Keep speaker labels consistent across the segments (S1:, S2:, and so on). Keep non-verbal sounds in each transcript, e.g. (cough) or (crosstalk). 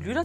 S1: lytter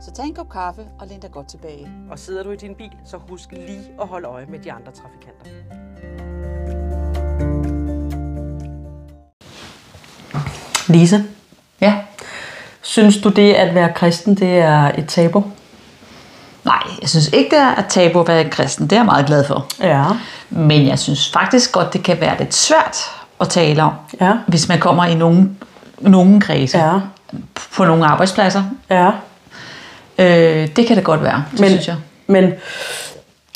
S2: Så tag en kop kaffe og læn dig godt tilbage.
S1: Og sidder du i din bil, så husk lige at holde øje med de andre trafikanter. Lise,
S3: Ja.
S1: synes du det at være kristen, det er et tabu?
S3: Nej, jeg synes ikke, det er et tabu at være kristen. Det er jeg meget glad for.
S1: Ja.
S3: Men jeg synes faktisk godt, det kan være lidt svært at tale om,
S1: Ja.
S3: hvis man kommer i nogen, nogen kredse,
S1: Ja.
S3: på nogle arbejdspladser.
S1: Ja.
S3: Øh, det kan det godt være, det
S1: Men,
S3: synes jeg.
S1: men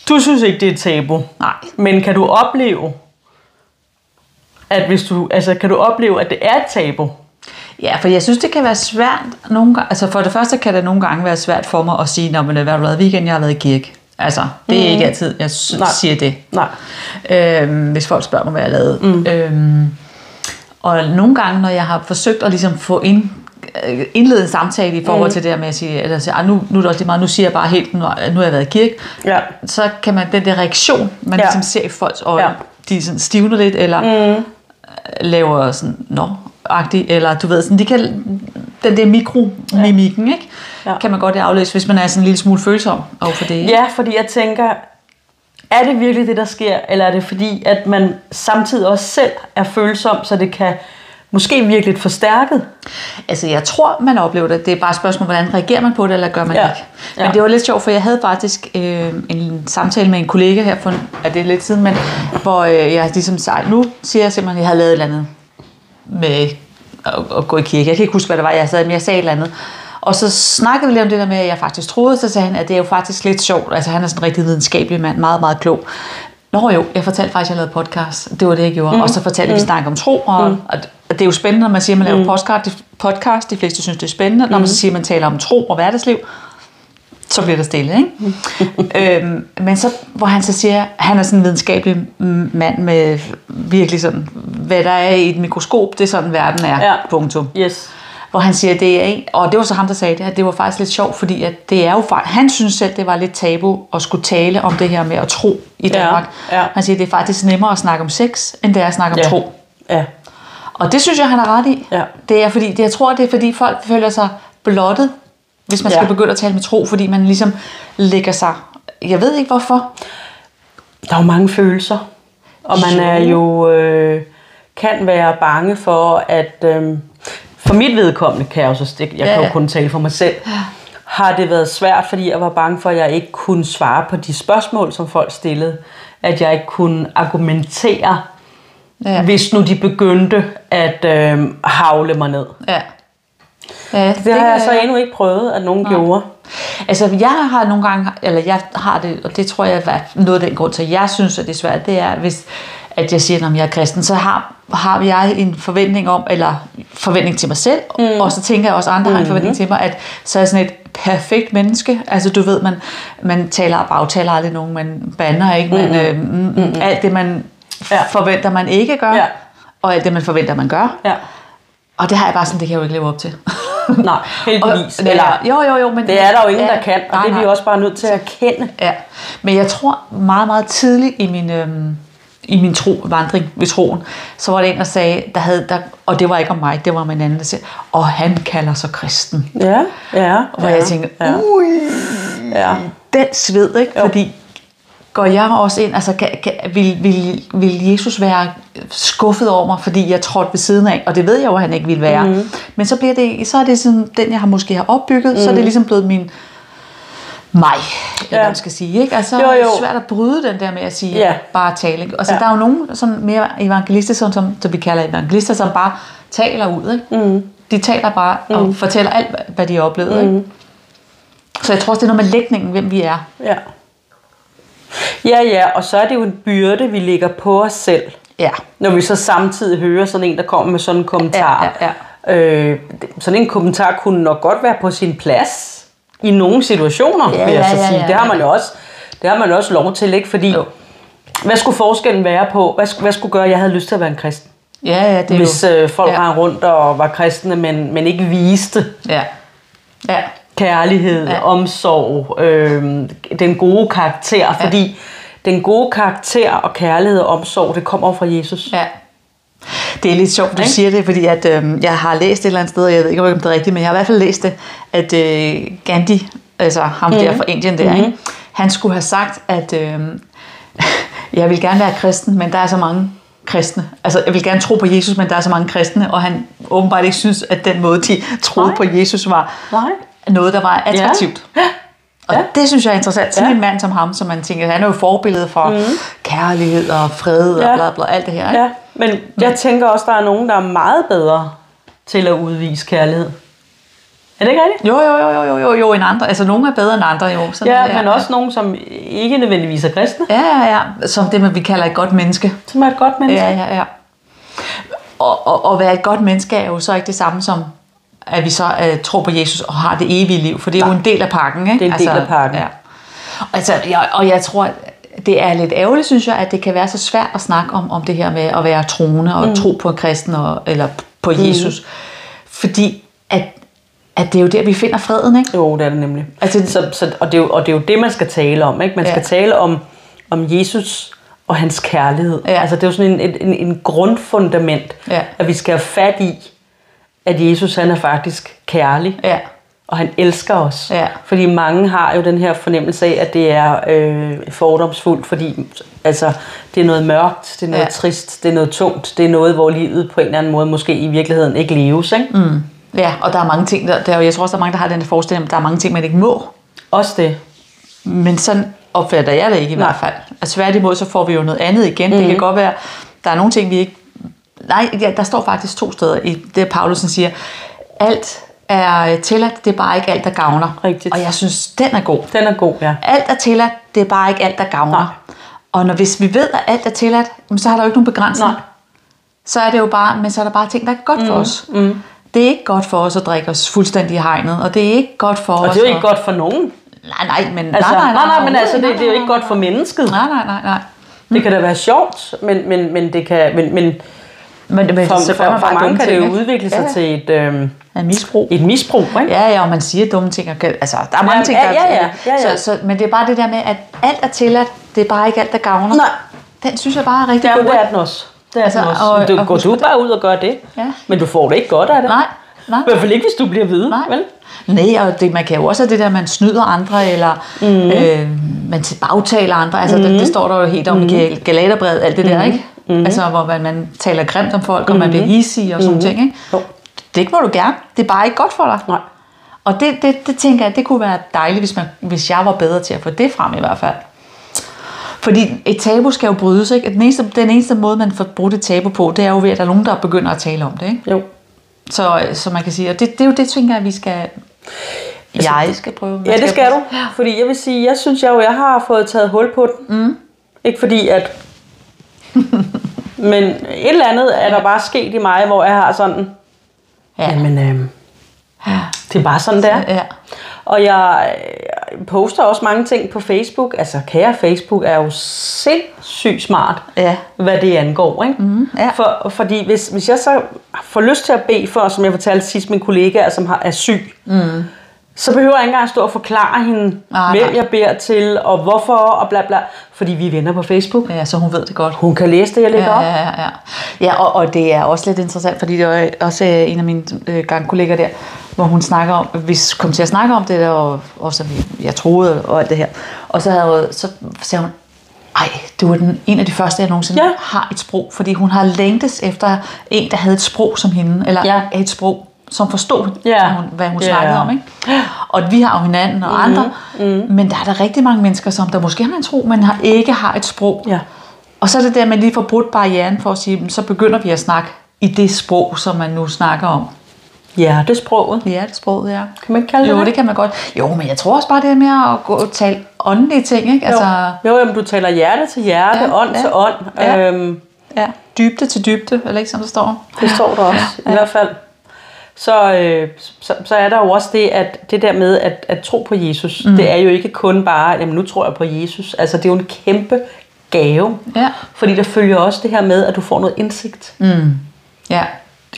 S1: du synes ikke, det er et tabu?
S3: Nej.
S1: Men kan du opleve, at hvis du, altså, kan du opleve, at det er et tabu?
S3: Ja, for jeg synes, det kan være svært nogle gange. Altså for det første kan det nogle gange være svært for mig at sige, når man har været weekend, jeg har været i kirke. Altså, det er mm. ikke altid, jeg sy-
S1: Nej.
S3: siger det.
S1: Nej.
S3: øhm, hvis folk spørger mig, hvad jeg lavede. Mm. Øhm, og nogle gange, når jeg har forsøgt at ligesom få ind, øh, indlede en samtale i forhold mm. til det der med at sige, eller sige "Ah, nu, nu er det også lige meget, nu siger jeg bare helt, nu, har- nu har jeg været i kirke,
S1: Ja.
S3: så kan man, den der reaktion, man
S1: Ja.
S3: ja. ligesom ser i folks øjne,
S1: Ja.
S3: ja. de sådan stivner lidt, eller mm. laver sådan, nå, agtig, eller du ved, sådan, de kan, den der mikromimikken, ja. ikke?
S1: Ja.
S3: Ja. kan man godt aflæse, hvis man er sådan en lille smule følsom overfor det. ikke?
S4: Ja, fordi jeg tænker, er det virkelig det, der sker, eller er det fordi, at man samtidig også selv er følsom, så det kan måske virke lidt forstærket?
S3: Altså, jeg tror, man oplever det. Det er bare et spørgsmål, hvordan reagerer man på det, eller gør man
S4: Ja.
S3: ikke. Men
S4: Ja.
S3: det var lidt sjovt, for jeg havde faktisk øh, en samtale med en kollega her for er det lidt siden, men hvor øh, jeg ligesom sagde, nu siger jeg simpelthen, at jeg havde lavet et eller andet med at, at gå i kirke. Jeg kan ikke huske, hvad det var, jeg sagde, men jeg sagde et eller andet. Og så snakkede vi lidt om det der med, at jeg faktisk troede, så sagde han, at det er jo faktisk lidt sjovt. Altså, han er sådan en rigtig videnskabelig mand, meget, meget klog. Nå jo, jeg fortalte faktisk, at jeg lavede podcast. Det var det, jeg gjorde. Mm. Og så fortalte jeg, at vi snakker om tro. Og, mm. og det- og det er jo spændende, når man siger, at man laver podcast. De, podcast, de fleste synes, det er spændende. Når man så siger, at man taler om tro og hverdagsliv, så bliver der stille, ikke? (laughs) øhm, men så, hvor han så siger, han er sådan en videnskabelig mm, mand med virkelig sådan, hvad der er i et mikroskop, det er sådan, verden er,
S4: Ja.
S3: punktum.
S4: Yes.
S3: Hvor han siger, det er en, og det var så ham, der sagde det, at det var faktisk lidt sjovt, fordi at det er jo, fa- han synes selv, det var lidt tabu at skulle tale om det her med at tro i Danmark.
S4: ja.
S3: Han siger, det er faktisk nemmere at snakke om sex, end det er at snakke om
S4: Ja.
S3: tro.
S4: Ja.
S3: Og det synes jeg, han har ret i.
S4: Ja.
S3: Det er fordi, det, jeg tror, det er fordi folk føler sig blottet, hvis man skal
S4: Ja.
S3: begynde at tale med tro, fordi man ligesom lægger sig. Jeg ved ikke hvorfor.
S4: Der er jo mange følelser, og man er jo øh, kan være bange for, at øh, for mit vedkommende kan jeg jo så stikke, jeg
S3: Ja,
S4: kan jo
S3: ja.
S4: kun tale for mig selv, har det været svært, fordi jeg var bange for, at jeg ikke kunne svare på de spørgsmål, som folk stillede, at jeg ikke kunne argumentere
S3: Ja.
S4: hvis nu de begyndte at øh, havle mig ned.
S3: Ja. Ja, det,
S4: Det har jeg
S3: kan-
S4: så endnu ikke prøvet, at nogen Nej. gjorde.
S3: Altså, jeg har nogle gange, eller jeg har det, og det tror jeg er noget af den grund til, at jeg synes, at det er svært, det er, hvis at jeg siger, at jeg er kristen, så har, har jeg en forventning om, eller forventning til mig selv, mm. og så tænker jeg også, at andre mm. har en forventning til mig, at så er jeg sådan et perfekt menneske. Altså, du ved, man, man taler og bagtaler aldrig nogen, man banner ikke, man, øh, mm, mm, alt det, man ja. forventer, man ikke gør,
S4: Ja.
S3: ja. og alt det, man forventer, man gør.
S4: Ja.
S3: Og det har jeg bare sådan, det kan jeg jo ikke leve op til. (laughs)
S4: Nej, heldigvis.
S3: Og,
S4: Eller,
S3: eller, jo, jo, jo, men
S4: det er der jo ingen,
S3: ja,
S4: der kan, og
S3: nej,
S4: det er vi
S3: nej.
S4: også bare nødt til at kende.
S3: Ja, men jeg tror meget, meget tidligt i min, øhm, i min tro, vandring ved troen, så var det en, der sagde, der havde, der, og det var ikke om mig, det var om en anden, der sagde, og han kalder sig kristen.
S4: Ja, ja.
S3: Hvor
S4: ja.
S3: jeg tænkte,
S4: ja.
S3: ui,
S4: ja.
S3: den sved, ikke? Jo. Fordi går jeg også ind, altså kan, kan, vil, vil, vil Jesus være skuffet over mig, fordi jeg trådte ved siden af, og det ved jeg jo, at han ikke ville være.
S4: Mhm.
S3: Mm. Men så, bliver det, så er det sådan, den, jeg har måske har opbygget, mm. så er det ligesom blevet min mig, eller
S4: Mhm. Ja.
S3: hvad man skal sige. Ikke? Altså,
S4: Jo,
S3: jo, jo. er det
S4: jo.
S3: svært at bryde den der med at sige,
S4: Ja.
S3: ja. bare tale. Ikke? Og så
S4: Ja.
S3: ja. der er jo nogen sådan mere evangelister, sådan, som, som vi kalder evangelister, som bare taler ud. Ikke? Mm. De taler bare og fortæller alt, hvad- hvad de har oplevet. Mm. Ikke? Så jeg tror også, det er noget med lægningen, hvem vi er.
S4: Ja. Ja, ja, og så er det jo en byrde, vi lægger på os selv.
S3: Ja.
S4: Når vi så samtidig hører sådan en, der kommer med sådan en kommentar.
S3: Ja, ja,
S4: ja. Øh, det- sådan en kommentar kunne nok godt være på sin plads. i nogle situationer,
S3: Ja,
S4: ja, vil jeg
S3: ja,
S4: så
S3: ja,
S4: sige.
S3: ja,
S4: det har
S3: ja.
S4: man jo også, det har man jo også lov til, ikke? Fordi,
S3: Jo.
S4: jo. hvad skulle forskellen være på, hvad, skulle- hvad skulle gøre, at jeg havde lyst til at være en kristen?
S3: Ja, ja, det er
S4: Hvis
S3: jo...
S4: øh, folk
S3: ja.
S4: ja. rendte rundt og var kristne, men, men ikke viste
S3: Ja. Ja.
S4: kærlighed,
S3: Ja.
S4: ja. omsorg, øh, den gode karakter, ja. fordi den gode karakter og kærlighed og omsorg, det kommer fra Jesus.
S3: Ja. Det er lidt sjovt, du
S4: Ikke?
S3: siger det, fordi at, øh, jeg har læst et eller andet sted, og jeg ved ikke, om det er rigtigt, men jeg har i hvert fald læst det, at øh, Gandhi, altså ham mm-hmm. der fra Indien der, mm-hmm. ikke? han skulle have sagt, at øh, (laughs) jeg vil gerne være kristen, men der er så mange kristne. Altså, jeg vil gerne tro på Jesus, men der er så mange kristne, og han åbenbart ikke synes, at den måde, de (laughs) troede
S4: Nej.
S3: på Jesus, var
S4: Nej.
S3: noget, der var attraktivt. Ja. Og ja. det synes jeg er interessant. Sådan ja.
S4: Ja.
S3: en mand som ham, som man tænker, han er jo forbillede for mm. kærlighed og fred og
S4: Ja.
S3: bla bla, alt det her. Ikke?
S4: Ja, men
S3: Mm.
S4: jeg tænker også, der er nogen, der er meget bedre til at udvise kærlighed. Er det ikke rigtigt?
S3: Jo, jo, jo, jo, jo, jo, jo, en andre. Altså, nogle er bedre end andre, jo. Sådan er det,
S4: Ja, men også nogen, som ikke nødvendigvis er kristne,
S3: Ja, ja, ja. Som det, man, vi kalder et godt menneske.
S4: som er et godt menneske.
S3: Ja, ja, ja. Og, og, og være et godt menneske er jo så ikke det samme som, at vi så uh, tror på Jesus og har det evige liv. For det er jo en del af pakken, ikke?
S4: Det er en del af pakken.
S3: Ja. Altså, jeg, og jeg tror, at det er lidt ærgerligt, synes jeg, at det kan være så svært at snakke om, om det her med at være troende og mm. tro på en kristen og, eller på Jesus. Mm. Fordi at, at det er jo der, vi finder freden, ikke?
S4: Jo, det er det nemlig.
S3: Altså-
S4: Altså, så, så, og, det er jo, og det er jo det, man skal tale om. Ikke? Man
S3: Ja.
S4: skal tale om, om Jesus og hans kærlighed.
S3: Ja.
S4: Altså, det er jo sådan en, en, en, en grundfundament,
S3: Ja.
S4: at vi skal have fat i, at Jesus han er faktisk kærlig.
S3: Ja.
S4: Og han elsker os.
S3: Ja.
S4: Fordi mange har jo den her fornemmelse af, at det er øh, fordomsfuldt, fordi altså, det er noget mørkt, det er noget
S3: Ja.
S4: ja. trist, det er noget tungt, det er noget, hvor livet på en eller anden måde måske i virkeligheden ikke leves. Ikke? Mm.
S3: Ja, og der er mange ting, der, der, jeg tror også, der er mange, der har den forestilling, om, at der er mange ting, man ikke må.
S4: Også det.
S3: Men sådan opfatter jeg det ikke i
S4: Nej. Mhm.
S3: hvert fald. Altså tværtimod, så får vi jo noget andet igen. Mm-hmm. Det kan godt være, der er nogle ting, vi ikke... Nej, ja, der står faktisk to steder i det, Paulusen siger. Alt er øh, tilladt, det er bare ikke alt, der gavner.
S4: Rigtigt.
S3: Og jeg synes, den er god.
S4: Den er god, ja.
S3: Alt er tilladt, det er bare ikke alt, der gavner. Nej. Og når, hvis vi ved, at alt er tilladt, jamen, så har der jo ikke nogen begrænsning.
S4: Nej.
S3: Så er det jo bare, men så er der bare ting, der er godt mm. for os. Mm. Det er ikke godt for os at drikke os fuldstændig i hegnet, og det er ikke godt for os
S4: Og det er jo
S3: at-
S4: ikke godt for nogen.
S3: Nej, nej, men...
S4: Altså, nej, nej, nej, nej, men altså, det, det er jo ikke godt for mennesket.
S3: Nej, nej, nej, nej.
S4: Det kan da være sjovt, men, men, men det kan... Men, men
S3: Men, men
S4: for,
S3: så
S4: for,
S3: gør man
S4: for
S3: bare
S4: mange
S3: dumme
S4: kan det
S3: ting,
S4: jo
S3: ikke?
S4: udvikle sig
S3: ja.
S4: til et, øh,
S3: Ja, misbrug.
S4: et misbrug, ikke?
S3: Ja, ja, og man siger dumme ting. Og, kan- altså, der er mange
S4: Jamen,
S3: ting,
S4: ja,
S3: der
S4: ja, ja, ja, ja.
S3: Så, så, men det er bare det der med, at alt er tilladt. Det er bare ikke alt, der gavner.
S4: Nej.
S3: Den synes jeg bare er rigtig
S4: Ja,
S3: god.
S4: det er den også. Det er
S3: Altså,
S4: altså, den også.
S3: og- og
S4: Men du, går
S3: husk
S4: du bare ud og gør det?
S3: Ja.
S4: Men du får det ikke godt af det.
S3: Nej, nej.
S4: I hvert fald ikke, hvis du bliver ved,
S3: Nej.
S4: vel?
S3: Mm-hmm. Nej, og det, man kan jo også have det der, at man snyder andre, eller
S4: Mm-hmm.
S3: mm. øh, man til- bagtaler andre. Altså, mm. det, det står der jo helt om mm.
S4: Mm-hmm.
S3: i Galaterbrevet, alt det der, ikke? Mm. Altså, hvor man, man taler grimt om folk, og man bliver hisig og sådan mm. ting, ikke?
S4: Mm-hmm. Jo.
S3: Det må du gerne. Det er bare ikke godt for dig.
S4: Nej.
S3: Og det, det, det tænker jeg, det kunne være dejligt, hvis, man, hvis jeg var bedre til at få det frem i hvert fald. Fordi et tabu skal jo brydes, ikke? Den eneste, den eneste måde, man får brudt et tabu på, det er jo ved, at der er nogen, der begynder at tale om det, ikke?
S4: Jo.
S3: Så, så man kan sige, og det, det er jo det, tænker jeg, vi skal... Jeg skal prøve. man
S4: Ja, det Øhm, skal du.
S3: prøve.
S4: Fordi jeg vil sige, jeg synes jeg jo, jeg har fået taget hul på den. Mm. Ikke fordi, at...
S3: (laughs)
S4: men et eller andet er der bare sket i mig, hvor jeg har sådan...
S3: Ja.
S4: Jamen, øh,
S3: Ja. Altså,
S4: det er bare sådan, det er.
S3: Ja.
S4: Og jeg øh, poster også mange ting på Facebook. Altså, kære Facebook er jo sindssygt smart,
S3: Ja.
S4: hvad det angår. Ikke? Mm,
S3: Mm-hmm. ja.
S4: for, fordi hvis, hvis jeg så får lyst til at bede for, som jeg fortalte sidst, min kollega, som har, er syg, mm. så behøver jeg ikke engang stå og forklare hende,
S3: Nej,
S4: hvem
S3: nej.
S4: jeg beder til, og hvorfor, og bla bla. Fordi vi er venner på Facebook.
S3: ja, så hun ved det godt.
S4: Hun kan læse det, jeg lægger
S3: ja,
S4: op.
S3: Ja, ja, ja. ja og, og det er også lidt interessant, fordi det var også øh, en af mine øh, gangkolleger der, hvor hun snakker om, vi kom til at snakke om det der, og, og som jeg troede, og alt det her. Og så, havde, hun- så sagde hun, ej, du var den, en af de første, jeg nogensinde
S4: Ja.
S3: har et sprog, fordi hun har længtes efter en, der havde et sprog som hende, eller
S4: Ja.
S3: et sprog, som forstod,
S4: Ja.
S3: hvad hun, hvad hun
S4: Ja.
S3: snakkede om. Ikke? Og vi har jo hinanden
S4: Mhm,
S3: og andre, mm-hmm. men der er der rigtig mange mennesker, som der måske har en tro, men har, ikke har et sprog.
S4: Ja.
S3: Og så er det der, at man lige får brudt barrieren for at sige, "Men så begynder vi at snakke i det sprog, som man nu snakker om.
S4: Hjertesproget.
S3: Ja, det sproget er.
S4: Kan man ikke kalde det
S3: Jo,
S4: det?
S3: det kan man godt. Jo, men jeg tror også bare, det er mere at gå og tale åndelige ting, ikke? Altså,
S4: Jo, jo jamen, du taler hjerte til hjerte,
S3: Ja,
S4: ja, ånd
S3: ja.
S4: ja. til ånd.
S3: Ja.
S4: Øhm,
S3: ja, dybde til dybde, eller ikke, som der står.
S4: Det står der også, ja, i hvert fald. så, øh, så, så er der jo også det, at det der med at, at tro på Jesus, mm. det er jo ikke kun bare, jamen nu tror jeg på Jesus. Altså det er jo en kæmpe gave.
S3: Ja.
S4: Fordi der følger også det her med, at du får noget indsigt. Mm.
S3: Ja.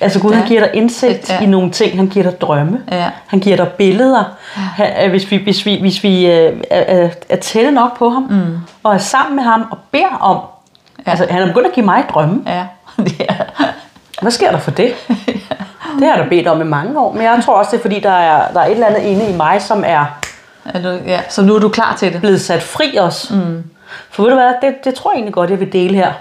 S4: Altså Gud, ja.
S3: Ja.
S4: han giver dig indsigt
S3: Ja.
S4: ja. i nogle ting. Han giver dig drømme.
S3: Ja.
S4: Han giver dig billeder. Han, øh, hvis vi, hvis vi, hvis vi øh, er, er- er tætte nok på ham, mm. og er sammen med ham og beder om, ja. altså han er begyndt at give mig drømme.
S3: Ja. (laughs) Det er-
S4: Hvad sker der for det? Det har jeg da bedt om i mange år, men jeg tror også, det er fordi, der er, der er et eller andet inde i mig, som er
S3: er du, ja. Så nu er du klar til det.
S4: blevet sat fri også. Mm. For ved du hvad, det, det tror jeg egentlig godt, jeg vil dele her.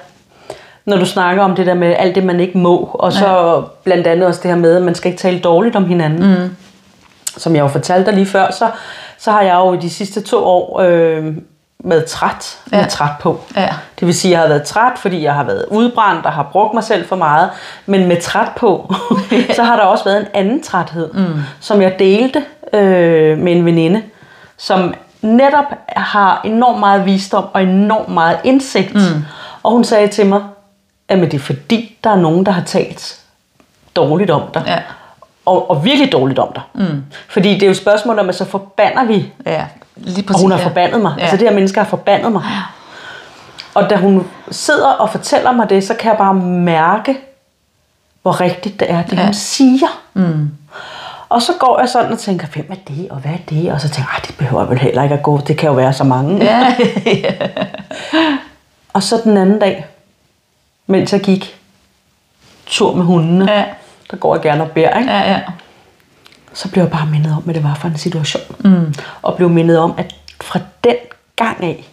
S4: Når du snakker om det der med alt det, man ikke må, og så ja. blandt andet også det her med, at man skal ikke tale dårligt om hinanden. Mm. Som jeg jo fortalte dig lige før, så, så har jeg jo i de sidste to år øh, været træt, ja.
S3: Ja.
S4: været træt på.
S3: Ja.
S4: Det vil sige, at jeg har været træt, fordi jeg har været udbrændt og har brugt mig selv for meget. Men med træt på, (laughs) så har der også været en anden træthed, mm. som jeg delte øh, med en veninde, som netop har enormt meget visdom og enormt meget indsigt. Mm. Og hun sagde til mig, at det er fordi, der er nogen, der har talt dårligt om dig.
S3: Ja.
S4: Og, og virkelig dårligt om dig. Mm. Fordi det er jo et spørgsmål om, at så forbander vi
S3: Ja. Lige præcis.
S4: og hun har
S3: ja.
S4: forbandet mig. Ja.
S3: Ja.
S4: Altså det her menneske har forbandet mig. Og da hun sidder og fortæller mig det, så kan jeg bare mærke, hvor rigtigt det er, det ja. hun siger. Mm. Og så går jeg sådan og tænker, hvem er det, og hvad er det? Og så tænker jeg, "Ej, det behøver jeg vel heller ikke at gå, det kan jo være så mange.
S3: Ja.
S4: (laughs) Og så den anden dag, mens jeg gik tur med hundene,
S3: Ja.
S4: der går jeg gerne og bærer, ikke?
S3: ja, ja.
S4: så blev jeg bare mindet om, hvad det var for en situation. Mm. Og blev mindet om, at fra den gang af,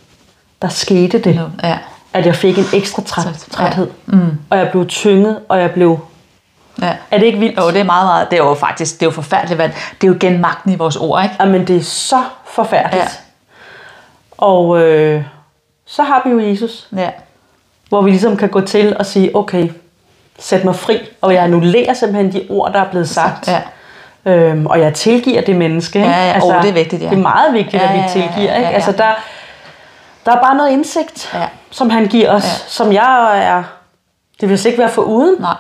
S4: der skete det.
S3: Nå, Ja.
S4: at jeg fik en ekstra træt,
S3: Så-
S4: træthed. Mm. Og jeg blev tynget, og jeg blev...
S3: Ja.
S4: Er det ikke vildt?
S3: Jo, det er meget, meget, det er jo faktisk, det er jo forfærdeligt, hvad, det er jo igen magten i vores ord, ikke?
S4: Jamen, det er så forfærdeligt.
S3: Ja.
S4: Og øh, så har vi jo Jesus,
S3: Ja.
S4: hvor vi ligesom kan gå til og sige, okay, sæt mig fri, og jeg annullerer simpelthen de ord, der er blevet sagt.
S3: Ja.
S4: Øhm, og jeg tilgiver det menneske. ikke? Altså,
S3: Ja, ja. Åh, det er vigtigt, ja.
S4: Det er meget vigtigt,
S3: Ja,
S4: at vi
S3: ja, ja,
S4: tilgiver.
S3: ja,
S4: ikke?
S3: ja.
S4: Altså, der, der er bare noget indsigt,
S3: Ja.
S4: som han giver os,
S3: Ja.
S4: som jeg er... Det vil slet ikke være for uden.
S3: Nej.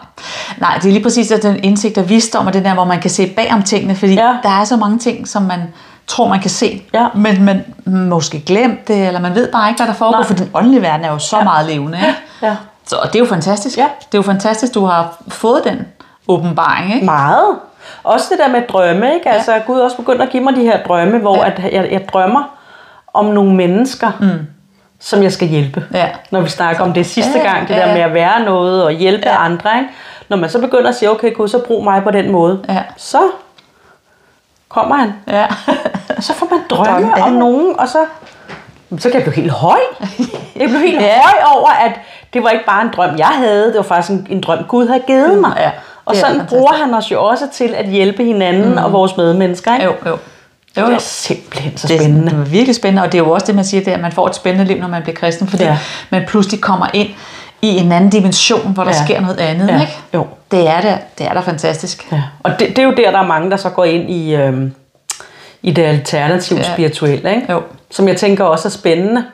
S3: Nej, det er lige præcis at den indsigt og visdom, og den der, hvor man kan se bag om tingene, fordi
S4: Ja.
S3: ja. der er så mange ting, som man tror, man kan se,
S4: Ja.
S3: men man måske glemt det, eller man ved bare ikke, hvad der foregår,
S4: Nej.
S3: for den åndelige verden er jo så ja. meget levende. Ikke?
S4: Ja.
S3: Så og det er jo fantastisk.
S4: Ja.
S3: Det er jo fantastisk, du har fået den åbenbaring. Ikke?
S4: Meget. Også det der med drømme, ikke? Altså, ja. Gud er også begyndt at give mig de her drømme, hvor ja.
S3: Ja.
S4: at jeg, jeg drømmer om nogle mennesker, mm. som jeg skal hjælpe.
S3: Ja.
S4: Når vi snakker om det sidste
S3: Ja, ja,
S4: gang, det
S3: ja,
S4: der
S3: ja.
S4: med at være noget og hjælpe ja. andre, ikke? Når man så begynder at sige, okay Gud, så brug mig på den måde,
S3: Ja.
S4: så kommer han.
S3: Ja. (laughs)
S4: Og så får man drømme
S3: Drømme, ja.
S4: om nogen, og så, Jamen, så kan jeg blive helt
S3: (laughs)
S4: høj. Jeg blev helt
S3: Ja.
S4: høj over, at det var ikke bare en drøm, jeg havde. Det var faktisk en, en drøm, Gud havde givet mig.
S3: Ja,
S4: og
S3: det er
S4: sådan
S3: fantastisk.
S4: bruger han os jo også til at hjælpe hinanden mm. og vores medmennesker. Ikke?
S3: Jo, jo. Jo,
S4: Det
S3: jo.
S4: er simpelthen så
S3: Det er
S4: spændende.
S3: sådan virkelig spændende, og det er jo også det, man siger, det er, at man får et spændende liv, når man bliver kristen, fordi
S4: Ja.
S3: ja. man pludselig kommer ind i en anden dimension, hvor der
S4: Ja.
S3: ja. sker noget andet.
S4: Ja.
S3: Ikke?
S4: Jo.
S3: Det er da, det er da fantastisk.
S4: Ja. Og det, det er jo der, der er mange, der så går ind i, øhm, i det alternative ja.
S3: Ja.
S4: spirituelle. Ikke?
S3: Jo.
S4: Som jeg tænker også er spændende.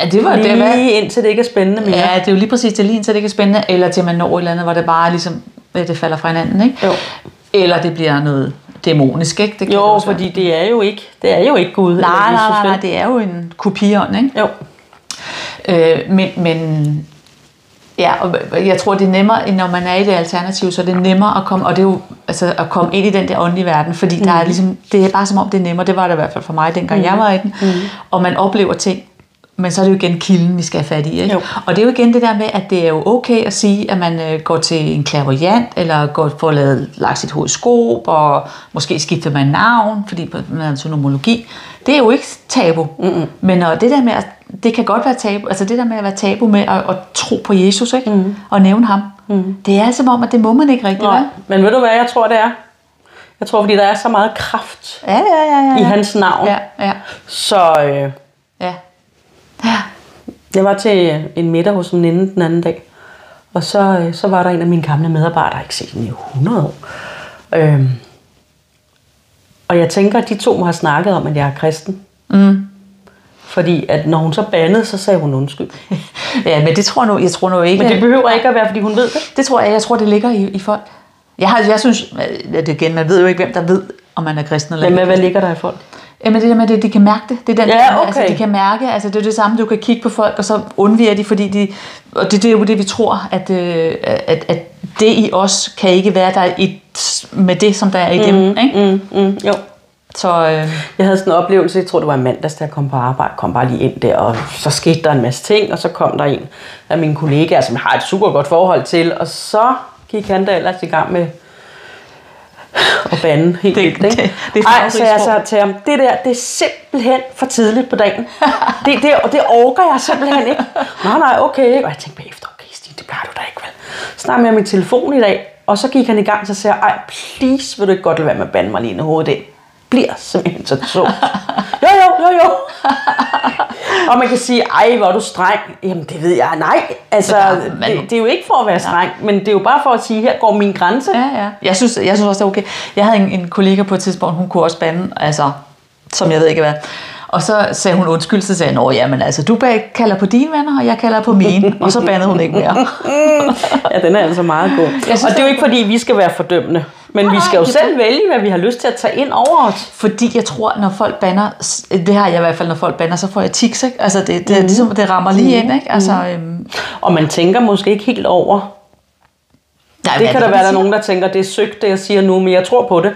S3: Ja, det var det.
S4: Lige
S3: Hvad?
S4: indtil det ikke er spændende mere.
S3: Ja, det er jo lige præcis det lige indtil det ikke er spændende, eller til man når et eller andet, hvor det bare ligesom, øh, det falder fra hinanden, ikke?
S4: Jo.
S3: Eller det bliver noget dæmonisk, ikke? Det kan det
S4: Jo,
S3: også være.
S4: fordi det er jo ikke, det er jo ikke Gud. eller
S3: Nej, nej,
S4: Jesus,
S3: nej,
S4: vel?
S3: nej, det er jo en kopiånd, ikke?
S4: Jo.
S3: Øh, men, men ja, og jeg tror, det er nemmere, end når man er i det alternativ, så er det nemmere at komme, og det er jo, altså, at komme ind i den der åndelige verden, fordi mm. der er ligesom, det er bare som om, det er nemmere. Det var det i hvert fald for mig, dengang mm. jeg var i den. Mm. Og man oplever ting, men så er det jo igen kilden, vi skal have fat i. Ikke?
S4: Jo.
S3: Og det er jo igen det der med, at det er jo okay at sige, at man øh, går til en clairvoyant, eller går for at lave, lagt sit horoskop, og måske skifter man navn, fordi man er en sonomologi. Det er jo ikke tabu. Mm-mm. Men og det der med, at det kan godt være tabu, altså det der med at være tabu med at, at tro på Jesus, ikke? Mm. og nævne ham, mm. det er som om, at det må man ikke rigtig,
S4: Nej.
S3: vel?
S4: Men ved du hvad, jeg tror, det er? Jeg tror, fordi der er så meget kraft
S3: Ja, ja, ja. ja,
S4: i
S3: ja.
S4: hans navn.
S3: Ja, ja,
S4: Så øh,
S3: ja. ja. (laughs)
S4: jeg var til en middag hos en veninde den anden dag, og så, øh, så var der en af mine gamle medarbejdere, jeg har ikke set hende i 100 år. Øhm, og jeg tænker, at de to må have snakket om, at jeg er kristen. Mm. Fordi at når hun så bandede, så sagde hun undskyld.
S3: Ja, men det tror jeg nu, jeg tror nu ikke.
S4: Men det behøver ikke at være, fordi hun ved det.
S3: Det tror jeg, jeg tror, det ligger i, i folk. Jeg, har, jeg synes, at det igen, man ved jo ikke, hvem der ved, om man er kristen eller
S4: Men
S3: ikke.
S4: hvad, hvad ligger der i folk?
S3: Jamen det der med, at de- de kan mærke det. Det er den,
S4: Ja,
S3: der med,
S4: okay.
S3: altså, de kan mærke, altså det er jo det samme, du kan kigge på folk, og så undviger de, fordi de, og det, det er jo det, vi tror, at, øh, at, at det i os kan ikke være der er i, med det, som der er i mm. dem. Ikke?
S4: Mm, mm, jo.
S3: Så øh,
S4: (laughs) Jeg havde sådan en oplevelse, jeg tror det var i mandags, da jeg kom på arbejde, kom bare lige ind der, og så skete der en masse ting, og så kom der en af mine kollegaer, som jeg har et super godt forhold til, og så gik han da ellers i gang med at bande helt
S3: Det-
S4: vildt, ikke?
S3: det- det er
S4: Ej, så jeg
S3: farverigt
S4: sagde til ham, det der, det er simpelthen for tidligt på dagen. Det, det, og det orker jeg simpelthen ikke. Nej, nej, okay. ikke? Og jeg tænkte bagefter, okay, Stine, det plejer du da ikke, vel? Snart med jeg min telefon i dag, og så gik han i gang, så sagde jeg, ej, please, vil du ikke godt lade være med at bande mig lige ind i hovedet ind? Bliver simpelthen så tungt. Jo, jo, jo, jo. og man kan sige, ej, hvor er du streng. Jamen, det ved jeg. Nej, altså,
S3: Men der- man-
S4: det, det, er jo ikke for at være streng, men det er jo bare for at sige, her går min grænse.
S3: Ja, ja. Jeg synes, jeg synes også, det er okay. Jeg havde en, en kollega på et tidspunkt, hun kunne også bande, altså, som jeg ved ikke hvad. Og så sagde hun undskyld, så sagde jeg, Nå, jamen altså, du bag- kalder på dine venner, og jeg kalder på mine. Og så bandede hun ikke mere.
S4: Ja, den er altså meget god. Synes, og det er jo ikke, fordi vi skal være fordømmende. Men vi skal jo
S3: det-
S4: selv vælge, hvad vi har lyst til at tage ind over os.
S3: Fordi jeg tror, når folk banner, det har jeg i hvert fald, når folk banner, så får jeg tics, ikke? Altså, det, det,
S4: Mhm.
S3: mm. ligesom, det rammer lige ind, ikke? Altså, øhm,
S4: Og man tænker måske ikke helt over.
S3: nej,
S4: Det kan der være, der er nogen, der tænker, det er sygt, det jeg siger nu, men jeg tror på det.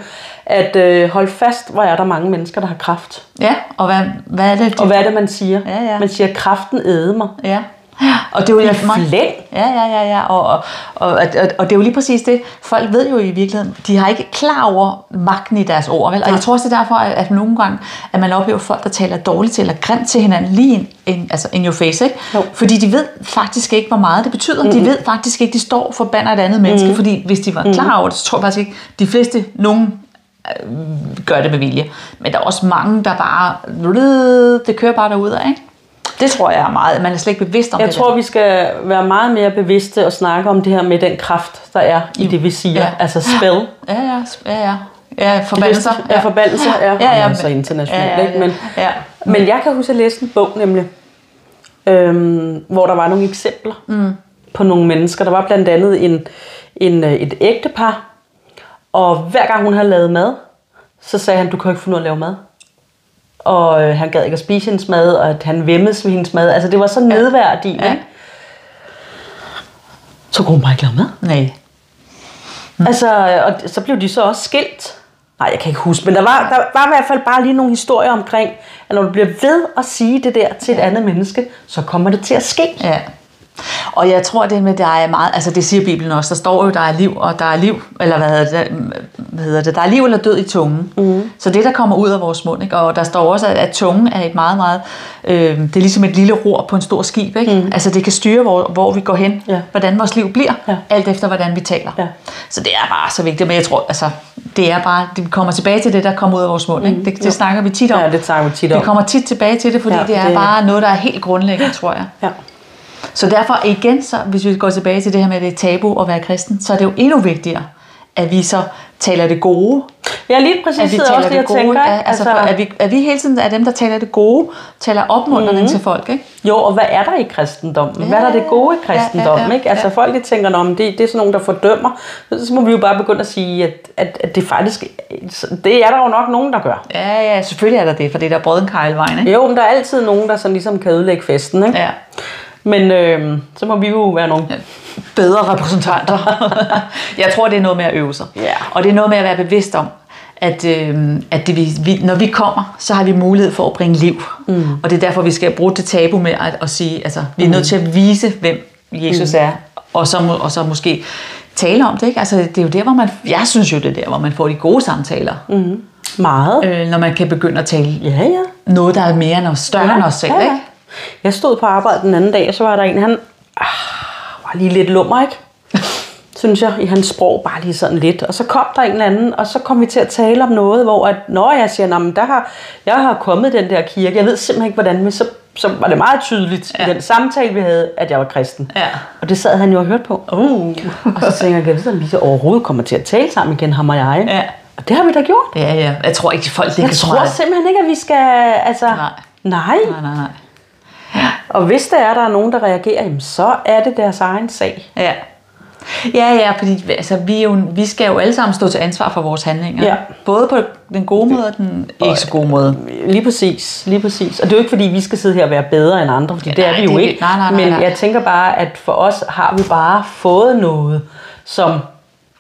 S4: At øh, hold fast, hvor er der mange mennesker, der har kraft.
S3: Ja, og hvad, hvad er det?
S4: Og hvad er det, man siger?
S3: Ja, ja.
S4: Man siger, kraften æde mig.
S3: Ja. Og det er jo
S4: I
S3: jeg- mig-
S4: flæng.
S3: Ja, ja, ja, ja. Og, og, og, og, og det er jo lige præcis det. Folk ved jo i virkeligheden, de har ikke klar over magten i deres ord. Vel? Og jeg tror også, det er derfor, at, at nogle gange, at man oplever folk, der taler dårligt til eller grimt til hinanden, lige en, en, altså in your face. Ikke?
S4: Jo.
S3: Fordi de ved faktisk ikke, hvor meget det betyder. Mm-hmm. De ved faktisk ikke, de står for banner et andet menneske. Mm-hmm. Fordi hvis de var klar over det, så tror jeg faktisk ikke, de fleste, nogen øh, gør det med vilje. Men der er også mange, der bare, det kører bare derudad, ikke? Det tror jeg er meget. Man er slet ikke bevidst om
S4: Jeg
S3: det.
S4: tror, vi skal være meget mere bevidste og snakke om det her med den kraft, der er i det, vi siger.
S3: Ja.
S4: Altså spil.
S3: Ja, ja, ja, ja. Ja, forbandelser.
S4: Ja, forbandelser. Ja, ja, ja, ja. så
S3: men-
S4: internationalt.
S3: ja, ja,
S4: Ikke? Men,
S3: ja.
S4: Men jeg kan huske, at jeg læste en bog nemlig, øhm, hvor der var nogle eksempler mm. på nogle mennesker. Der var blandt andet en, en, øh, et ægtepar, og hver gang hun havde lavet mad, så sagde han, du kan jo ikke finde ud af at lave mad. Og øh, han gad ikke at spise hendes mad, og at han vemmes ved hendes mad. Altså det var så nedværdigt.
S3: Ja.
S4: Ja. Så kunne hun bare ikke lave mad.
S3: Nej.
S4: Mm. Altså, og så blev de så også skilt. Nej, jeg kan ikke huske, men der var, der var i hvert fald bare lige nogle historier omkring, at når du bliver ved at sige det der til et andet menneske, så kommer det til at ske.
S3: Ja. Og jeg tror, det med, der er meget, altså det siger Bibelen også, der står jo, der er liv, og der er liv, eller hvad hedder det, hvad hedder det der er liv eller død i tungen. Mm. Så det, der kommer ud af vores mund, ikke? og der står også, at, at tungen er et meget, meget, øh, det er ligesom et lille ror på en stor skib, ikke? Mm. altså det kan styre, hvor, hvor vi går hen,
S4: Ja.
S3: hvordan vores liv bliver,
S4: Ja.
S3: alt efter, hvordan vi taler.
S4: Ja.
S3: Så det er bare så vigtigt, men jeg tror, altså, det er bare, det vi kommer tilbage til det, der kommer ud af vores mund, ikke? det, det snakker vi tit om.
S4: Mm. Ja, det snakker vi tit om.
S3: Vi kommer tit tilbage til det, fordi
S4: Ja,
S3: ja, det er
S4: det-
S3: det... bare noget, der er helt grundlæggende, tror jeg.
S4: Ja.
S3: Så derfor igen, så, hvis vi går tilbage til det her med, at det er tabu at være kristen, så er det jo endnu vigtigere, at vi så taler det gode.
S4: Jeg er lige præcis
S3: At vi
S4: sidder også lige og
S3: det
S4: tænker, ikke?
S3: at- altså, for, at, vi, at vi hele tiden er dem, der taler det gode, taler opmuntrende mm-hmm. til folk. Ikke?
S4: Jo, og hvad er der i kristendommen? Hvad er der det gode i kristendommen?
S3: Ja, ja, ja,
S4: ikke? Altså,
S3: ja.
S4: folk de tænker, "Nå, men det, det er sådan nogen, der fordømmer. Så så må vi jo bare begynde at sige, at, at, at det faktisk... Det er der jo nok nogen, der gør.
S3: Ja, ja, selvfølgelig er der det, for det er der brødenkarlvejen. Ikke?
S4: Jo, men der er altid nogen, der sådan ligesom kan ødelægge festen, ikke?
S3: Ja.
S4: Men øh, så må vi jo være nogle
S3: Bedre repræsentanter. (laughs) jeg tror, det er noget med at øve sig.
S4: Ja.
S3: Og det er noget med at være bevidst om, at, øh, at det, vi, vi, når vi kommer, så har vi mulighed for at bringe liv. Mm. Og det er derfor, vi skal bruge det tabu med at, at sige, altså, vi er nødt til at vise, hvem Jesus mm. er, og så, må- og så måske tale om det. Ikke? Altså, det er jo der, hvor man, jeg synes jo, det er der, hvor man får de gode samtaler, mm.
S4: meget.
S3: øh, når man kan begynde at tale
S4: Ja, ja.
S3: noget, der er mere end os, større end os selv. Ikke?
S4: Jeg stod på arbejde den anden dag, og så var der en, han ah, var lige lidt lummer,
S3: (laughs)
S4: ikke? Synes jeg, i hans sprog, bare lige sådan lidt. Og så kom der en eller anden, og så kom vi til at tale om noget, hvor at, når jeg siger, "Nå, men der har, jeg har kommet i den der kirke, jeg ved simpelthen ikke, hvordan, men så, så var det meget tydeligt ja. i den samtale, vi havde, at jeg var kristen.
S3: Ja.
S4: Og det sad han jo og hørte på.
S3: Uh.
S4: (laughs) Og så tænker jeg, jeg ved, om vi så overhovedet kommer til at tale sammen igen, ham og jeg. ikke?"
S3: Ja.
S4: Og det har vi da gjort.
S3: Ja, ja. Jeg tror ikke, folk ligger
S4: Jeg
S3: så
S4: tror
S3: meget.
S4: simpelthen ikke, at vi skal... Altså,
S3: Nej.
S4: Nej.
S3: Nej, nej, nej.
S4: Og hvis der er, der er nogen, der reagerer, jamen, så er det deres egen sag.
S3: Ja. Ja, ja, fordi altså, vi, er jo, vi skal jo alle sammen stå til ansvar for vores handlinger.
S4: Ja.
S3: Både på den gode måde og den ikke så gode måde.
S4: Lige præcis, lige præcis. Og det er jo ikke, fordi vi skal sidde her og være bedre end andre, fordi ja, det er
S3: nej,
S4: vi jo
S3: det er
S4: ikke.
S3: vi- nej, nej, nej,
S4: Men
S3: nej.
S4: jeg tænker bare, at for os har vi bare fået noget, som,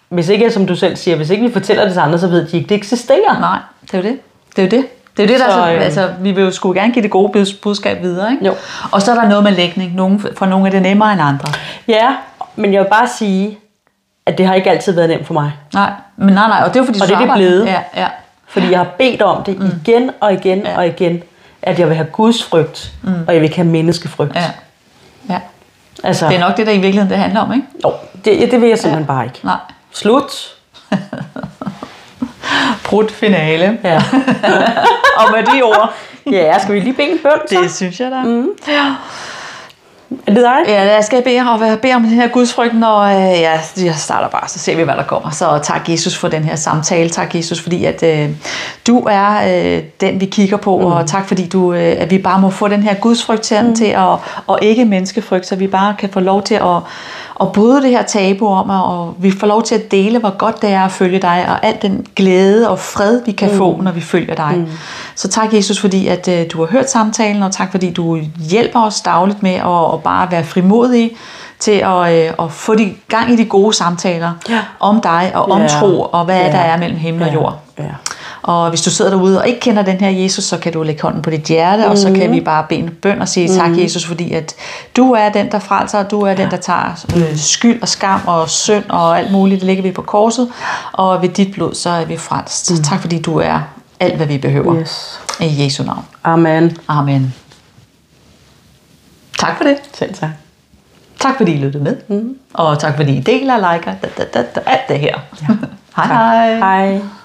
S4: hvis ikke, som du selv siger, hvis ikke vi fortæller det til andre, så ved de ikke, det eksisterer.
S3: Nej, det er jo det. Det er jo det. Det er jo det, der
S4: Så,
S3: så,
S4: øhm,
S3: altså, vi vil jo sgu gerne give det gode bud- budskab videre, ikke?
S4: Jo.
S3: Og så er der noget med lægning. Nogle, for nogle er det nemmere end andre.
S4: Ja, men jeg vil bare sige, at det har ikke altid været nemt for mig.
S3: Nej, men nej, nej, og det er jo fordi, du
S4: Og det er det
S3: arbejder-
S4: blevet.
S3: Ja, ja.
S4: Fordi jeg har bedt om det mm. igen og igen ja. og igen, at jeg vil have Guds frygt, mm. og jeg vil ikke have menneskefrygt.
S3: Ja. ja.
S4: Altså,
S3: Det er nok det, der i virkeligheden det handler om, ikke?
S4: jo, det, det vil jeg simpelthen ja. bare ikke.
S3: Nej.
S4: Slut.
S3: Brudt finale. (laughs)
S4: Ja.
S3: Og med de
S4: (laughs)
S3: ord.
S4: ja, skal vi lige bede en bøn så?
S3: Det synes jeg da. Mm.
S4: Er det dig?
S3: Ja, jeg skal bede, og jeg beder om den her gudsfrygt, når øh, jeg, jeg starter bare, så ser vi, hvad der kommer. Så tak Jesus for den her samtale. Tak Jesus, fordi at, øh, du er øh, den, vi kigger på, mm. og tak fordi du, øh, at vi bare må få den her gudsfrygt til, mm. til at, og ikke menneskefrygt, så vi bare kan få lov til at, at bryde det her tabu om, og, og vi får lov til at dele, hvor godt det er at følge dig, og al den glæde og fred, vi kan mm. få, når vi følger dig. Mm. Så tak Jesus, fordi at øh, du har hørt samtalen, og tak fordi du hjælper os dagligt med at og bare være frimodige til at, øh, at få de, gang i de gode samtaler
S4: Ja.
S3: om dig, og om
S4: Ja.
S3: tro, og hvad
S4: Ja.
S3: der er mellem himmel og jord.
S4: Ja.
S3: Og hvis du sidder derude og ikke kender den her Jesus, så kan du lægge hånden på dit hjerte, mm. og så kan vi bare bede en bøn og sige tak Jesus, fordi at du er den, der frelser, og du er den, der tager øh, skyld og skam og synd og alt muligt, det ligger vi på korset, og ved dit blod, så er vi frelst. Mm. Tak fordi du er alt, hvad vi behøver.
S4: Yes.
S3: I Jesu navn.
S4: Amen.
S3: Amen. Tak for det.
S4: Selv tak.
S3: Tak fordi I lyttede med. Mm. Og tak fordi I deler, liker, da, da, da, da, alt det her. Ja. (laughs) hej hej.
S4: Hej.